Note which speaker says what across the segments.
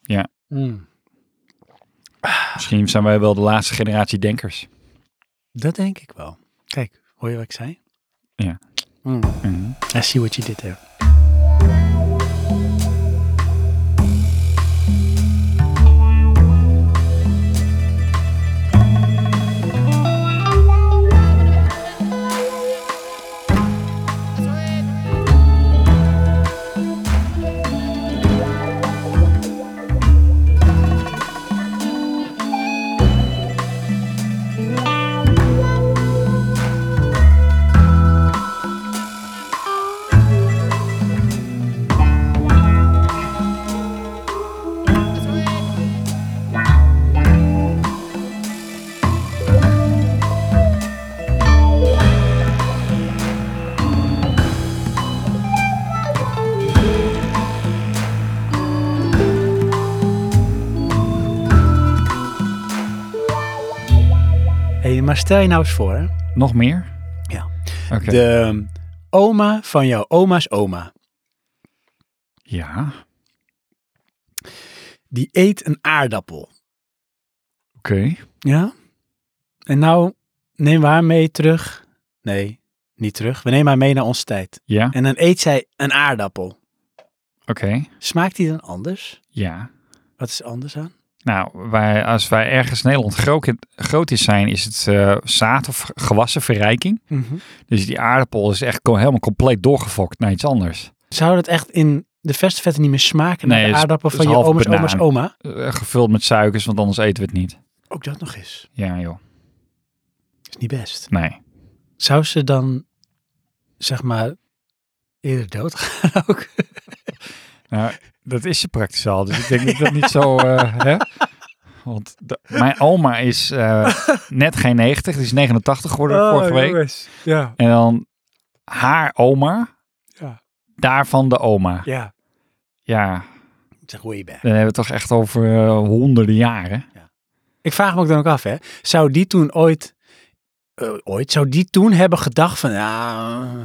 Speaker 1: Ja.
Speaker 2: Mm.
Speaker 1: Misschien zijn wij wel de laatste generatie denkers.
Speaker 2: Dat denk ik wel. Kijk, hoor je wat ik zei?
Speaker 1: Ja.
Speaker 2: Mm.
Speaker 1: Mhm.
Speaker 2: I see what you did there. Hé, maar stel je nou eens voor, hè?
Speaker 1: Nog meer?
Speaker 2: Ja.
Speaker 1: Oké.
Speaker 2: de ehm, oma van jouw oma's oma,
Speaker 1: Ja. Oké.
Speaker 2: die eet een aardappel. Ja? En nou nemen we haar mee terug. Nee, niet terug. We nemen haar mee naar onze tijd.
Speaker 1: Ja.
Speaker 2: En dan eet zij een aardappel.
Speaker 1: Oké.
Speaker 2: Smaakt die dan anders?
Speaker 1: Ja.
Speaker 2: Wat is er anders aan?
Speaker 1: Nou, wij, als wij ergens in Nederland groot, groot is zijn, is het eh, zaad- of gewassenverrijking. Dus die aardappel is echt co- helemaal compleet doorgefokt naar iets anders.
Speaker 2: Zou dat echt in de vestigvetten niet meer
Speaker 1: Nee,
Speaker 2: smaken naar
Speaker 1: het
Speaker 2: de
Speaker 1: is-
Speaker 2: aardappel
Speaker 1: het
Speaker 2: van
Speaker 1: is
Speaker 2: je
Speaker 1: half
Speaker 2: oma's
Speaker 1: banaan.
Speaker 2: oma's oma?
Speaker 1: Eh, gevuld met suikers, want anders eten we het niet.
Speaker 2: Ook dat nog eens.
Speaker 1: Ja, joh.
Speaker 2: Is niet best.
Speaker 1: Nee.
Speaker 2: Zou ze dan, zeg maar, eerder doodgaan ook?
Speaker 1: Nou, dat is ze praktisch al. Dus ik denk dat ik dat niet zo... eh, hè? Want de- mijn oma is eh, net geen 90. Die is 89 geworden
Speaker 2: Oh,
Speaker 1: vorige week.
Speaker 2: Ja,
Speaker 1: En dan haar oma.
Speaker 2: Ja.
Speaker 1: Daarvan de oma.
Speaker 2: ja.
Speaker 1: Ja,
Speaker 2: Zeg way back.
Speaker 1: dan hebben we het toch echt over eh, honderden jaren.
Speaker 2: Ik vraag me ook dan ook af, hè. Zou die toen ooit, eh, ooit, zou die toen hebben gedacht van, ja, eh,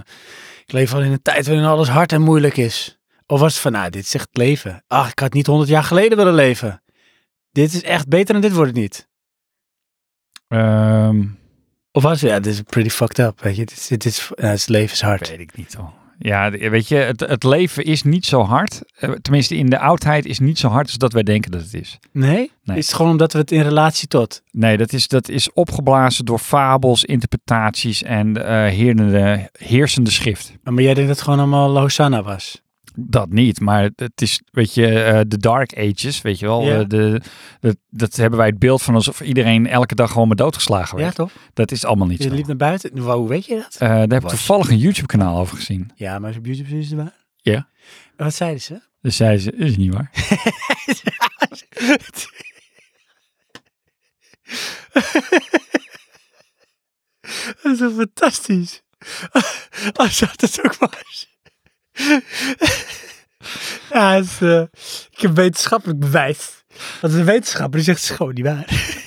Speaker 2: ik leef al in een tijd waarin alles hard en moeilijk is. Of was het van, nou, dit is echt het leven. Ach, ik had niet honderd jaar geleden willen leven. Dit is echt beter en dit wordt het niet.
Speaker 1: Ehm,
Speaker 2: Of was het, ja, dit is pretty fucked up, weet je. Dit, is- dit is, nou, het leven is hard.
Speaker 1: weet ik niet al. Ja, d- weet je, het, het leven is niet zo hard. Eh, Tenminste, in de oudheid is niet zo hard als dat wij denken dat het is.
Speaker 2: Nee?
Speaker 1: Nee.
Speaker 2: Is het gewoon omdat we het in relatie tot?
Speaker 1: Nee, dat is, dat is opgeblazen door fabels, interpretaties en eh heersende, heersende schrift.
Speaker 2: Maar jij denkt dat het gewoon allemaal Hosanna was?
Speaker 1: Dat niet, maar het is, weet je, eh, de Dark Ages, weet je wel.
Speaker 2: Ja.
Speaker 1: eh, de, dat- dat hebben wij het beeld van alsof iedereen elke dag gewoon maar doodgeslagen werd.
Speaker 2: toch?
Speaker 1: Dat is allemaal niet
Speaker 2: Je
Speaker 1: zo.
Speaker 2: liep naar buiten. Nou, Hoe weet je dat?
Speaker 1: Eh, daar heb ik
Speaker 2: Was-
Speaker 1: toevallig een YouTube-kanaal over gezien.
Speaker 2: Ja, maar is op YouTube zien ze het waar?
Speaker 1: Ja.
Speaker 2: En Wat zeiden ze?
Speaker 1: Dus zei ze, is niet waar.
Speaker 2: Dat is toch fantastisch? Als dat het ook was. Ja, het is, eh, ik heb wetenschappelijk bewijs. Dat is een wetenschapper die zegt, het is gewoon niet waar.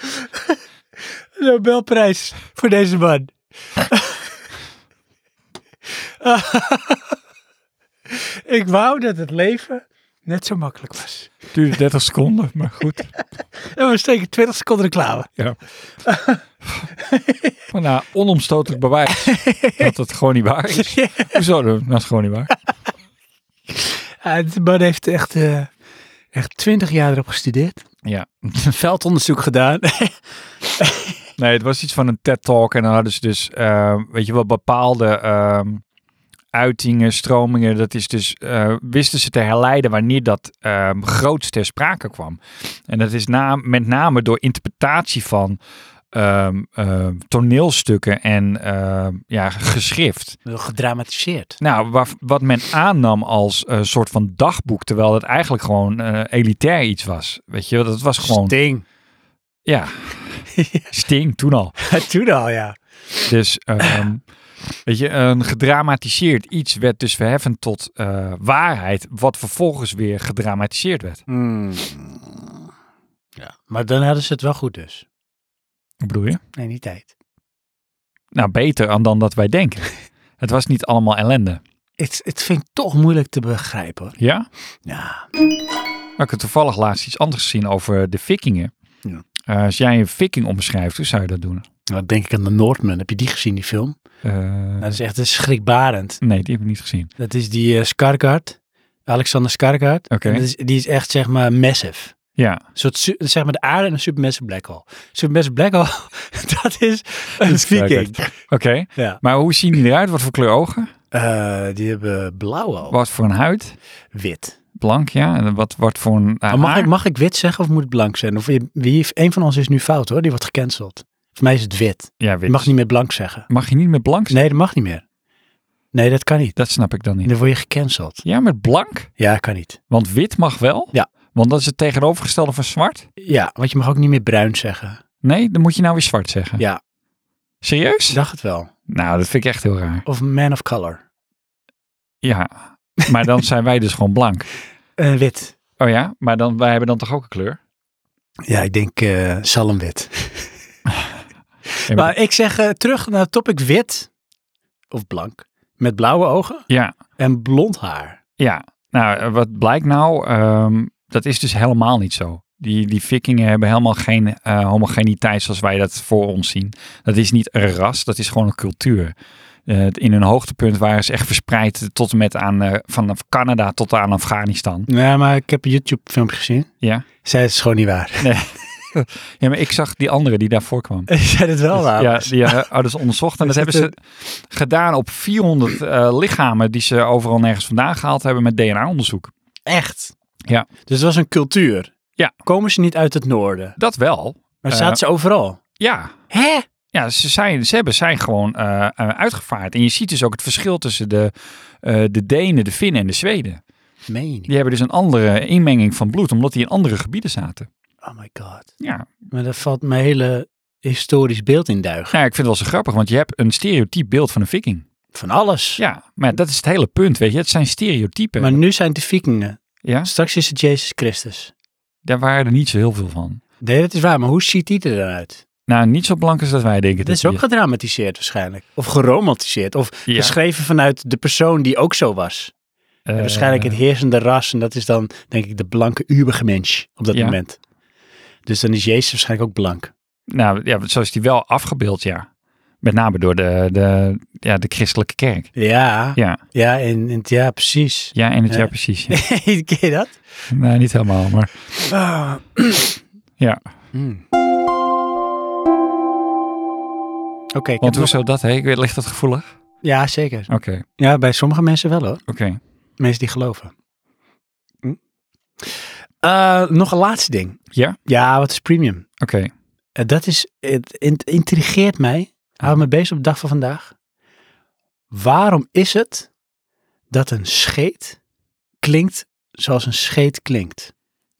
Speaker 2: Nobelprijs voor deze man. ik wou dat het leven net zo makkelijk was.
Speaker 1: Duurde 30 seconden, maar goed.
Speaker 2: En we steken 20 seconden reclame.
Speaker 1: Ja. Maar nou, onomstotelijk bewijs dat het gewoon niet waar is. Hoezo? dan? Dat is gewoon niet waar.
Speaker 2: Ja, die man heeft echt, eh, echt 20 jaar erop gestudeerd.
Speaker 1: Ja.
Speaker 2: Veldonderzoek gedaan.
Speaker 1: Nee, het was iets van een TED-talk en dan hadden ze dus, eh, weet je wel, bepaalde ehm, uitingen, stromingen. Dat is dus, eh, wisten ze te herleiden wanneer dat ehm grootst ter sprake kwam. En dat is na, met name door interpretatie van ehm, ehm, toneelstukken en ehm, ja, geschrift.
Speaker 2: Gedramatiseerd.
Speaker 1: Nou, waar- wat men aannam als een soort van dagboek, terwijl het eigenlijk gewoon eh, elitair iets was. Weet je, wel, dat was gewoon,
Speaker 2: Sting.
Speaker 1: ja, sting toen al.
Speaker 2: Toen al, ja.
Speaker 1: Dus, ehm, weet je, een gedramatiseerd iets werd dus verheffend tot eh, waarheid, wat vervolgens weer gedramatiseerd werd.
Speaker 2: ja. Maar dan hadden ze het wel goed dus.
Speaker 1: Wat bedoel je?
Speaker 2: Nee, niet tijd.
Speaker 1: Nou, beter aan dan dat wij denken. Het was niet allemaal ellende.
Speaker 2: Het, het vind ik toch moeilijk te begrijpen hoor.
Speaker 1: Ja?
Speaker 2: Ja,
Speaker 1: Nou, ik heb toevallig laatst iets anders gezien over de vikingen.
Speaker 2: Ja.
Speaker 1: Eh, als jij een viking omschrijft, hoe zou je dat doen?
Speaker 2: dan denk ik aan de Noordman. Heb je die gezien, die film?
Speaker 1: Eh,
Speaker 2: Dat is echt schrikbarend.
Speaker 1: nee, die heb ik niet gezien.
Speaker 2: Dat is die eh, Skarsgård, Alexander Skarsgård.
Speaker 1: Oké.
Speaker 2: En dat is, die is echt zeg maar massive.
Speaker 1: Ja,
Speaker 2: Een soort, su- zeg maar de aarde en een supermassive black hole. Supermassive black hole, dat is een
Speaker 1: is
Speaker 2: viking.
Speaker 1: oké.
Speaker 2: Ja.
Speaker 1: Maar hoe zien die eruit? Wat voor kleur ogen?
Speaker 2: Eh, die hebben blauw ogen.
Speaker 1: Wat voor een huid?
Speaker 2: Wit.
Speaker 1: Blank, ja. En wat, wat voor een eh,
Speaker 2: Maar Ah, mag,
Speaker 1: haar?
Speaker 2: ik, mag ik wit zeggen of moet het blank zijn? Of je- wie, heeft- een van ons is nu fout hoor, die wordt gecanceld. Voor mij is het wit.
Speaker 1: Ja,
Speaker 2: Je
Speaker 1: wit.
Speaker 2: mag niet meer blank zeggen.
Speaker 1: Mag je niet met blank zijn?
Speaker 2: Nee, dat mag niet meer. Nee, dat kan niet.
Speaker 1: Dat snap ik dan niet.
Speaker 2: Dan word je gecanceld.
Speaker 1: Ja, met blank?
Speaker 2: Ja, kan niet.
Speaker 1: Want wit mag wel?
Speaker 2: Ja.
Speaker 1: Want dat is het tegenovergestelde van zwart?
Speaker 2: Ja, want je mag ook niet meer bruin zeggen.
Speaker 1: Nee, dan moet je nou weer zwart zeggen.
Speaker 2: Ja.
Speaker 1: Serieus?
Speaker 2: Ik dacht het wel.
Speaker 1: Nou, dat vind ik echt heel raar.
Speaker 2: Of man of color.
Speaker 1: Ja. Maar dan zijn wij dus gewoon blank.
Speaker 2: Eh, wit.
Speaker 1: Oh ja, maar dan, wij hebben dan toch ook een kleur?
Speaker 2: Ja, ik denk eh zalmwit.
Speaker 1: Ja,
Speaker 2: Maar ik zeg eh, terug naar het topic wit. Of blank. Met blauwe ogen
Speaker 1: Ja,
Speaker 2: en blond haar.
Speaker 1: ja. Nou, eh, wat blijkt nou? Ehm, dat is dus helemaal niet zo. Die, die vikingen hebben helemaal geen eh, homogeniteit zoals wij dat voor ons zien. Dat is niet een ras, dat is gewoon een cultuur. Eh, in hun hoogtepunt waren ze echt verspreid tot en met aan, eh, vanaf Canada tot aan Afghanistan.
Speaker 2: Nee, maar ik heb een YouTube filmpje gezien.
Speaker 1: Ja.
Speaker 2: Zij is gewoon niet waar.
Speaker 1: Ja, maar ik zag die andere die daarvoor kwam.
Speaker 2: Zij het wel
Speaker 1: Dus,
Speaker 2: waar.
Speaker 1: ja, die eh, hadden ze onderzocht. En dat hebben ze gedaan op 400 eh, lichamen die ze overal nergens vandaan gehaald hebben met DNA-onderzoek.
Speaker 2: Echt.
Speaker 1: Ja.
Speaker 2: Dus het was een cultuur.
Speaker 1: Ja.
Speaker 2: Komen ze niet uit het noorden.
Speaker 1: Dat wel.
Speaker 2: Maar
Speaker 1: Eh,
Speaker 2: zaten ze overal.
Speaker 1: Ja,
Speaker 2: Hè?
Speaker 1: Ja, ze, zijn, ze hebben zijn gewoon eh, eh, uitgevaard. En je ziet dus ook het verschil tussen de, eh, de Denen, de Finnen en de Zweden.
Speaker 2: Meen je niet?
Speaker 1: Die hebben dus een andere inmenging van bloed, omdat die in andere gebieden zaten.
Speaker 2: Oh my god.
Speaker 1: Ja,
Speaker 2: Maar dat valt mijn hele historisch beeld in duigen.
Speaker 1: nou, ik vind het wel zo grappig, want je hebt een stereotyp beeld van een viking.
Speaker 2: Van alles.
Speaker 1: Ja, maar dat is het hele punt, weet je. Het zijn stereotypen.
Speaker 2: Maar nu zijn het de vikingen.
Speaker 1: ja,
Speaker 2: Straks is het Jezus Christus.
Speaker 1: daar waren er niet zo heel veel van.
Speaker 2: Nee, dat is waar. Maar hoe ziet die er dan uit?
Speaker 1: Nou, niet zo blank als dat wij denken.
Speaker 2: Het is ook gedramatiseerd waarschijnlijk. Of geromantiseerd. Of
Speaker 1: Ja.
Speaker 2: geschreven vanuit de persoon die ook zo was.
Speaker 1: Eh,
Speaker 2: En waarschijnlijk het heersende ras. En dat is dan, denk ik, de blanke ubergemensch op dat
Speaker 1: Ja.
Speaker 2: moment. Dus dan is Jezus waarschijnlijk ook blank.
Speaker 1: Nou, ja, zo is die wel afgebeeld, ja. Met name door de, de, ja, de christelijke kerk.
Speaker 2: Ja, ja,
Speaker 1: Ja,
Speaker 2: en, en- ja precies.
Speaker 1: ja en het, ja,
Speaker 2: Ja.
Speaker 1: precies. ja.
Speaker 2: Ken je dat?
Speaker 1: nee, niet helemaal, maar...
Speaker 2: Ah.
Speaker 1: Ja.
Speaker 2: Hmm. Oké, ik
Speaker 1: Want
Speaker 2: heb nog-
Speaker 1: hoezo dat, hè? Ik weet- Ligt dat gevoelig?
Speaker 2: ja, zeker.
Speaker 1: Oké,
Speaker 2: Ja, bij sommige mensen wel hoor.
Speaker 1: oké.
Speaker 2: Mensen die geloven. Hm? Eh, nog een laatste ding.
Speaker 1: Ja?
Speaker 2: Ja, wat is premium?
Speaker 1: Oké,
Speaker 2: Eh, dat is, het in- intrigeert mij. Hou me bezig op de dag van vandaag. Waarom is het dat een scheet klinkt zoals een scheet klinkt?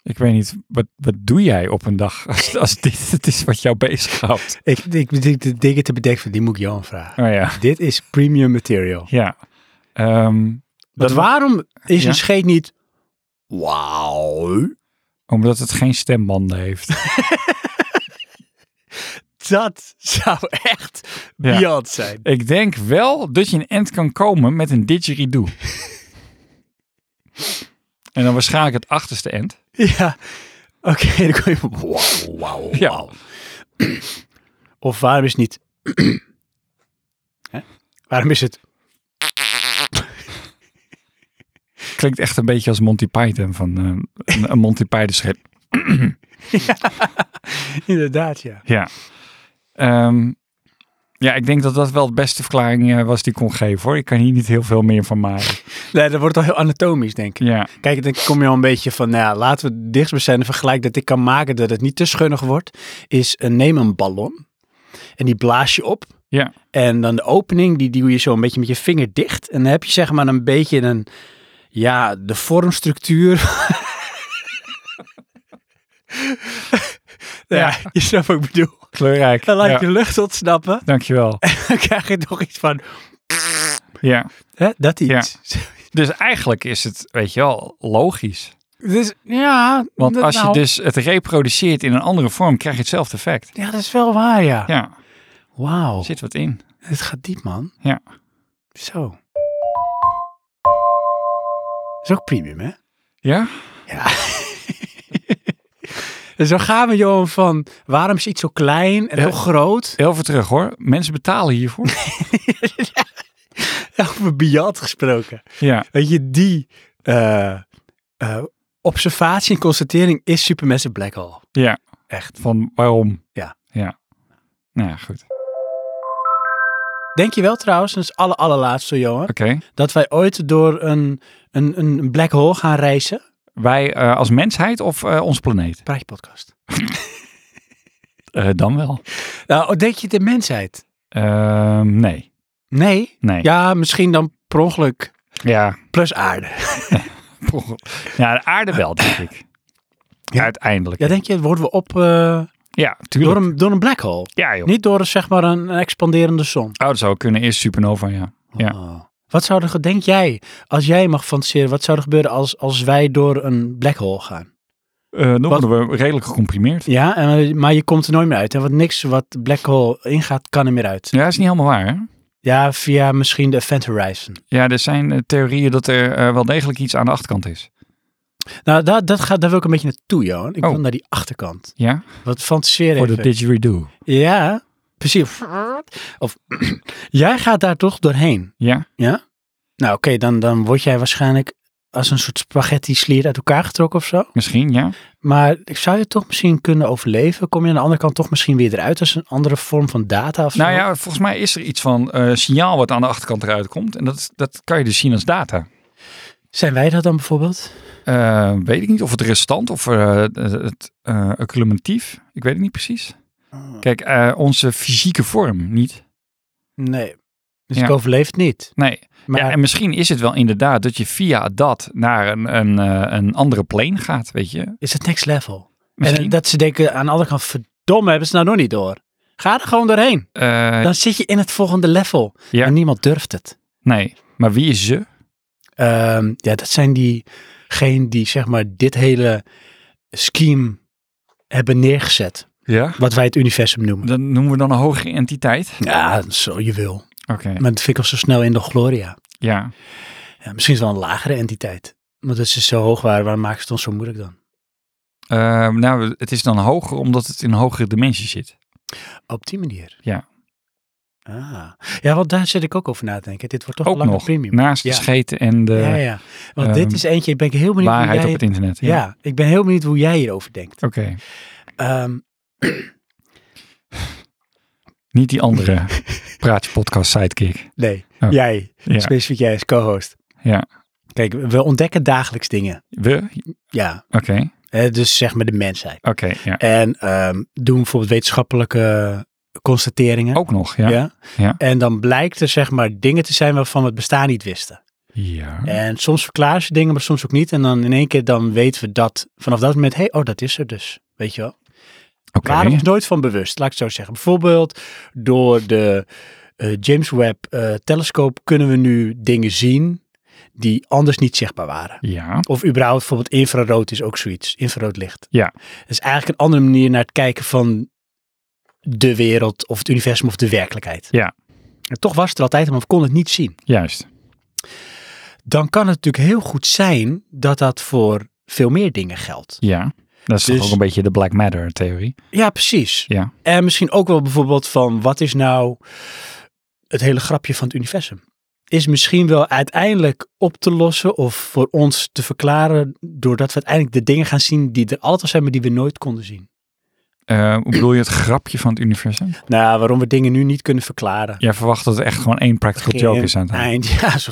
Speaker 1: ik weet niet, wat, wat doe jij op een dag als, als dit het is wat jou bezighoudt?
Speaker 2: Ik, ik, ik de dingen te bedenken, van, die moet ik Johan vragen.
Speaker 1: Oh ja,
Speaker 2: Dit is premium material.
Speaker 1: ja. Ehm,
Speaker 2: Want waarom is
Speaker 1: Ja.
Speaker 2: een scheet niet... Wauw.
Speaker 1: omdat het geen stembanden heeft.
Speaker 2: Dat zou echt
Speaker 1: Ja.
Speaker 2: briljant zijn.
Speaker 1: ik denk wel dat je een end kan komen met een didgeridoo. en dan waarschijnlijk het achterste end.
Speaker 2: Ja, oké, dan kom je van wauw, wauw,
Speaker 1: Ja.
Speaker 2: wauw. Of waarom is het niet... Hè? Waarom is het...
Speaker 1: Klinkt echt een beetje als Monty Python van eh, een, een Monty Python schip.
Speaker 2: Inderdaad, ja.
Speaker 1: Ja. Ehm, ja, ik denk dat dat wel de beste verklaring eh, was die ik kon geven hoor. Ik kan hier niet heel veel meer van maken.
Speaker 2: Nee, dat wordt al heel anatomisch, denk ik.
Speaker 1: Ja,
Speaker 2: Kijk, dan kom je al een beetje van, nou ja, laten we het dichtstbijzijnde vergelijk dat ik kan maken dat het niet te schunnig wordt, is eh, neem een ballon en die blaas je op.
Speaker 1: Ja.
Speaker 2: En dan de opening, die doe je zo een beetje met je vinger dicht. En dan heb je zeg maar een beetje een, ja, de vormstructuur. ja,
Speaker 1: Ja.
Speaker 2: je snapt wat ik bedoel.
Speaker 1: kleurrijk.
Speaker 2: Dan laat
Speaker 1: ja.
Speaker 2: je lucht ontsnappen.
Speaker 1: Dankjewel.
Speaker 2: Dan krijg je nog iets van,
Speaker 1: ja.
Speaker 2: hè, dat iets.
Speaker 1: Dus eigenlijk is het, weet je wel, logisch.
Speaker 2: Dus ja.
Speaker 1: Want
Speaker 2: dat-
Speaker 1: als je
Speaker 2: nou,
Speaker 1: dus het reproduceert in een andere vorm, krijg je hetzelfde effect.
Speaker 2: Ja, dat is wel waar, ja.
Speaker 1: Ja,
Speaker 2: Wauw.
Speaker 1: er zit wat in.
Speaker 2: Het gaat diep, man.
Speaker 1: Ja.
Speaker 2: Zo. is ook premium, hè?
Speaker 1: Ja?
Speaker 2: Ja. en zo gaan we, Johan, van waarom is iets zo klein en
Speaker 1: Ja.
Speaker 2: toch groot?
Speaker 1: Heel veel terug hoor. Mensen betalen hiervoor.
Speaker 2: Over Biat gesproken.
Speaker 1: ja.
Speaker 2: Weet je, die eh, eh, observatie en constatering is Supermassive Black Hole.
Speaker 1: Ja.
Speaker 2: Echt.
Speaker 1: Van waarom?
Speaker 2: Ja.
Speaker 1: Ja. Nou ja, goed.
Speaker 2: Denk je wel trouwens, dat is het aller, allerlaatste, Johan,
Speaker 1: Oké.
Speaker 2: dat wij ooit door een, een, een black hole gaan reizen?
Speaker 1: Wij eh, als mensheid of eh ons planeet?
Speaker 2: Praatje podcast.
Speaker 1: Eh, dan wel.
Speaker 2: Nou, denk je de mensheid?
Speaker 1: Ehm, nee.
Speaker 2: Nee.
Speaker 1: Nee.
Speaker 2: Ja, misschien dan per ongeluk.
Speaker 1: Ja.
Speaker 2: Plus aarde.
Speaker 1: ja, de aarde wel, denk ik.
Speaker 2: Ja.
Speaker 1: Uiteindelijk.
Speaker 2: Ja, denk je, worden we op eh,
Speaker 1: Ja,
Speaker 2: door,
Speaker 1: tuurlijk.
Speaker 2: een, door een black hole?
Speaker 1: Ja, joh.
Speaker 2: Niet door een, zeg maar een, een expanderende zon.
Speaker 1: Oh, dat zou kunnen. Eerst supernova, ja. Ja.
Speaker 2: Oh. Wat zou er, ge- denk jij, als jij mag fantaseren, wat zou er gebeuren als, als wij door een black hole gaan?
Speaker 1: Eh, dan
Speaker 2: Wat-
Speaker 1: worden we redelijk gecomprimeerd.
Speaker 2: Ja, en, eh, maar je komt er nooit meer uit. En wat niks wat black hole ingaat, kan er meer uit.
Speaker 1: Ja, dat is niet helemaal waar, hè?
Speaker 2: Ja, via misschien de Event Horizon.
Speaker 1: Ja, er zijn eh, theorieën dat er eh, wel degelijk iets aan de achterkant is.
Speaker 2: Nou, dat, dat gaat, daar wil ik een beetje naartoe, Johan. Ik
Speaker 1: Oh.
Speaker 2: wil naar die achterkant.
Speaker 1: Ja?
Speaker 2: Wat fantaseren
Speaker 1: Voor de
Speaker 2: even.
Speaker 1: didgeridoo.
Speaker 2: Ja, precies. Of, jij gaat daar toch doorheen.
Speaker 1: Ja?
Speaker 2: Nou, oké, dan, dan word jij waarschijnlijk als een soort spaghetti slier uit elkaar getrokken of zo.
Speaker 1: Misschien, ja.
Speaker 2: Maar zou je toch misschien kunnen overleven? Kom je aan de andere kant toch misschien weer eruit als een andere vorm van data of zo?
Speaker 1: Nou ja, volgens mij is er iets van eh, signaal wat aan de achterkant eruit komt. En dat, is- dat kan je dus zien als data.
Speaker 2: Zijn wij dat dan bijvoorbeeld?
Speaker 1: Eh, weet ik niet of het restant of eh, het eh accumulatief. Ik weet het niet precies. Kijk, eh, onze fysieke vorm niet.
Speaker 2: Nee. Dus
Speaker 1: Ja.
Speaker 2: ik overleef het niet.
Speaker 1: Nee.
Speaker 2: Maar
Speaker 1: Ja, en misschien is het wel inderdaad dat je via dat naar een, een, eh, een andere plane gaat, weet je.
Speaker 2: is het next level?
Speaker 1: Misschien.
Speaker 2: En dat ze denken aan de andere kant, verdomme, hebben ze nou nog niet door. Ga er gewoon doorheen.
Speaker 1: Eh,
Speaker 2: Dan zit je in het volgende level.
Speaker 1: Ja.
Speaker 2: En niemand durft het.
Speaker 1: nee, maar wie is ze?
Speaker 2: Ehm, ja, dat zijn diegenen die zeg maar dit hele scheme hebben neergezet.
Speaker 1: Ja.
Speaker 2: Wat wij het universum noemen.
Speaker 1: Dat noemen we dan een hogere entiteit.
Speaker 2: Ja, zo je wil.
Speaker 1: Oké,
Speaker 2: Maar dat vind ik al zo snel in de gloria.
Speaker 1: ja.
Speaker 2: Ja, misschien is het wel een lagere entiteit. Omdat ze dus zo hoog waren, waarom maken ze het ons zo moeilijk dan?
Speaker 1: Eh, nou, het is dan hoger omdat het in een hogere dimensie zit.
Speaker 2: Op die manier.
Speaker 1: Ja.
Speaker 2: Ah. Ja, want daar zit ik ook over na te denken. Dit wordt toch
Speaker 1: Ook
Speaker 2: een lange
Speaker 1: nog,
Speaker 2: premium.
Speaker 1: naast
Speaker 2: Ja.
Speaker 1: de scheten en de
Speaker 2: ja, ja. Want dit
Speaker 1: ehm,
Speaker 2: is eentje, ik ben heel benieuwd
Speaker 1: waarheid op
Speaker 2: hoe jij...
Speaker 1: het internet.
Speaker 2: ja. ik ben heel benieuwd hoe jij hierover denkt.
Speaker 1: Oké,
Speaker 2: Ehm,
Speaker 1: niet die andere praatje podcast sidekick.
Speaker 2: nee,
Speaker 1: Oh.
Speaker 2: jij.
Speaker 1: Ja.
Speaker 2: Specifiek jij als co-host.
Speaker 1: Ja.
Speaker 2: Kijk, we ontdekken dagelijks dingen.
Speaker 1: We?
Speaker 2: Ja.
Speaker 1: Oké,
Speaker 2: Hè, dus zeg maar de mensheid.
Speaker 1: oké, ja.
Speaker 2: En ehm, doen bijvoorbeeld wetenschappelijke constateringen.
Speaker 1: Ook nog, ja.
Speaker 2: Ja?
Speaker 1: Ja.
Speaker 2: En dan blijkt er zeg maar dingen te zijn waarvan we het bestaan niet wisten.
Speaker 1: Ja.
Speaker 2: En soms verklaren ze dingen, maar soms ook niet. En dan in één keer dan weten we dat vanaf dat moment, hé, hey, oh, dat is er dus. Weet je wel?
Speaker 1: Oké.
Speaker 2: Waren we ons nooit van bewust, laat ik het zo zeggen. Bijvoorbeeld door de eh, James Webb eh, telescoop kunnen we nu dingen zien die anders niet zichtbaar waren.
Speaker 1: Ja.
Speaker 2: Of überhaupt bijvoorbeeld infrarood is ook zoiets, infrarood licht.
Speaker 1: Ja.
Speaker 2: Dat is eigenlijk een andere manier naar het kijken van de wereld of het universum of de werkelijkheid.
Speaker 1: Ja.
Speaker 2: En toch was het er altijd, maar we konden het niet zien.
Speaker 1: Juist.
Speaker 2: Dan kan het natuurlijk heel goed zijn dat dat voor veel meer dingen geldt.
Speaker 1: Ja. Dat is toch
Speaker 2: Dus-
Speaker 1: ook een beetje de Black Matter theorie.
Speaker 2: Ja, precies.
Speaker 1: Ja.
Speaker 2: En misschien ook wel bijvoorbeeld van wat is nou het hele grapje van het universum? Is misschien wel uiteindelijk op te lossen of voor ons te verklaren doordat we uiteindelijk de dingen gaan zien die er altijd al zijn, maar die we nooit konden zien.
Speaker 1: Eh, hoe bedoel je het grapje van het universum?
Speaker 2: Nou, waarom we dingen nu niet kunnen verklaren.
Speaker 1: Jij verwacht dat het echt gewoon één practical joke is aan het eind.
Speaker 2: eind. Ja, zo.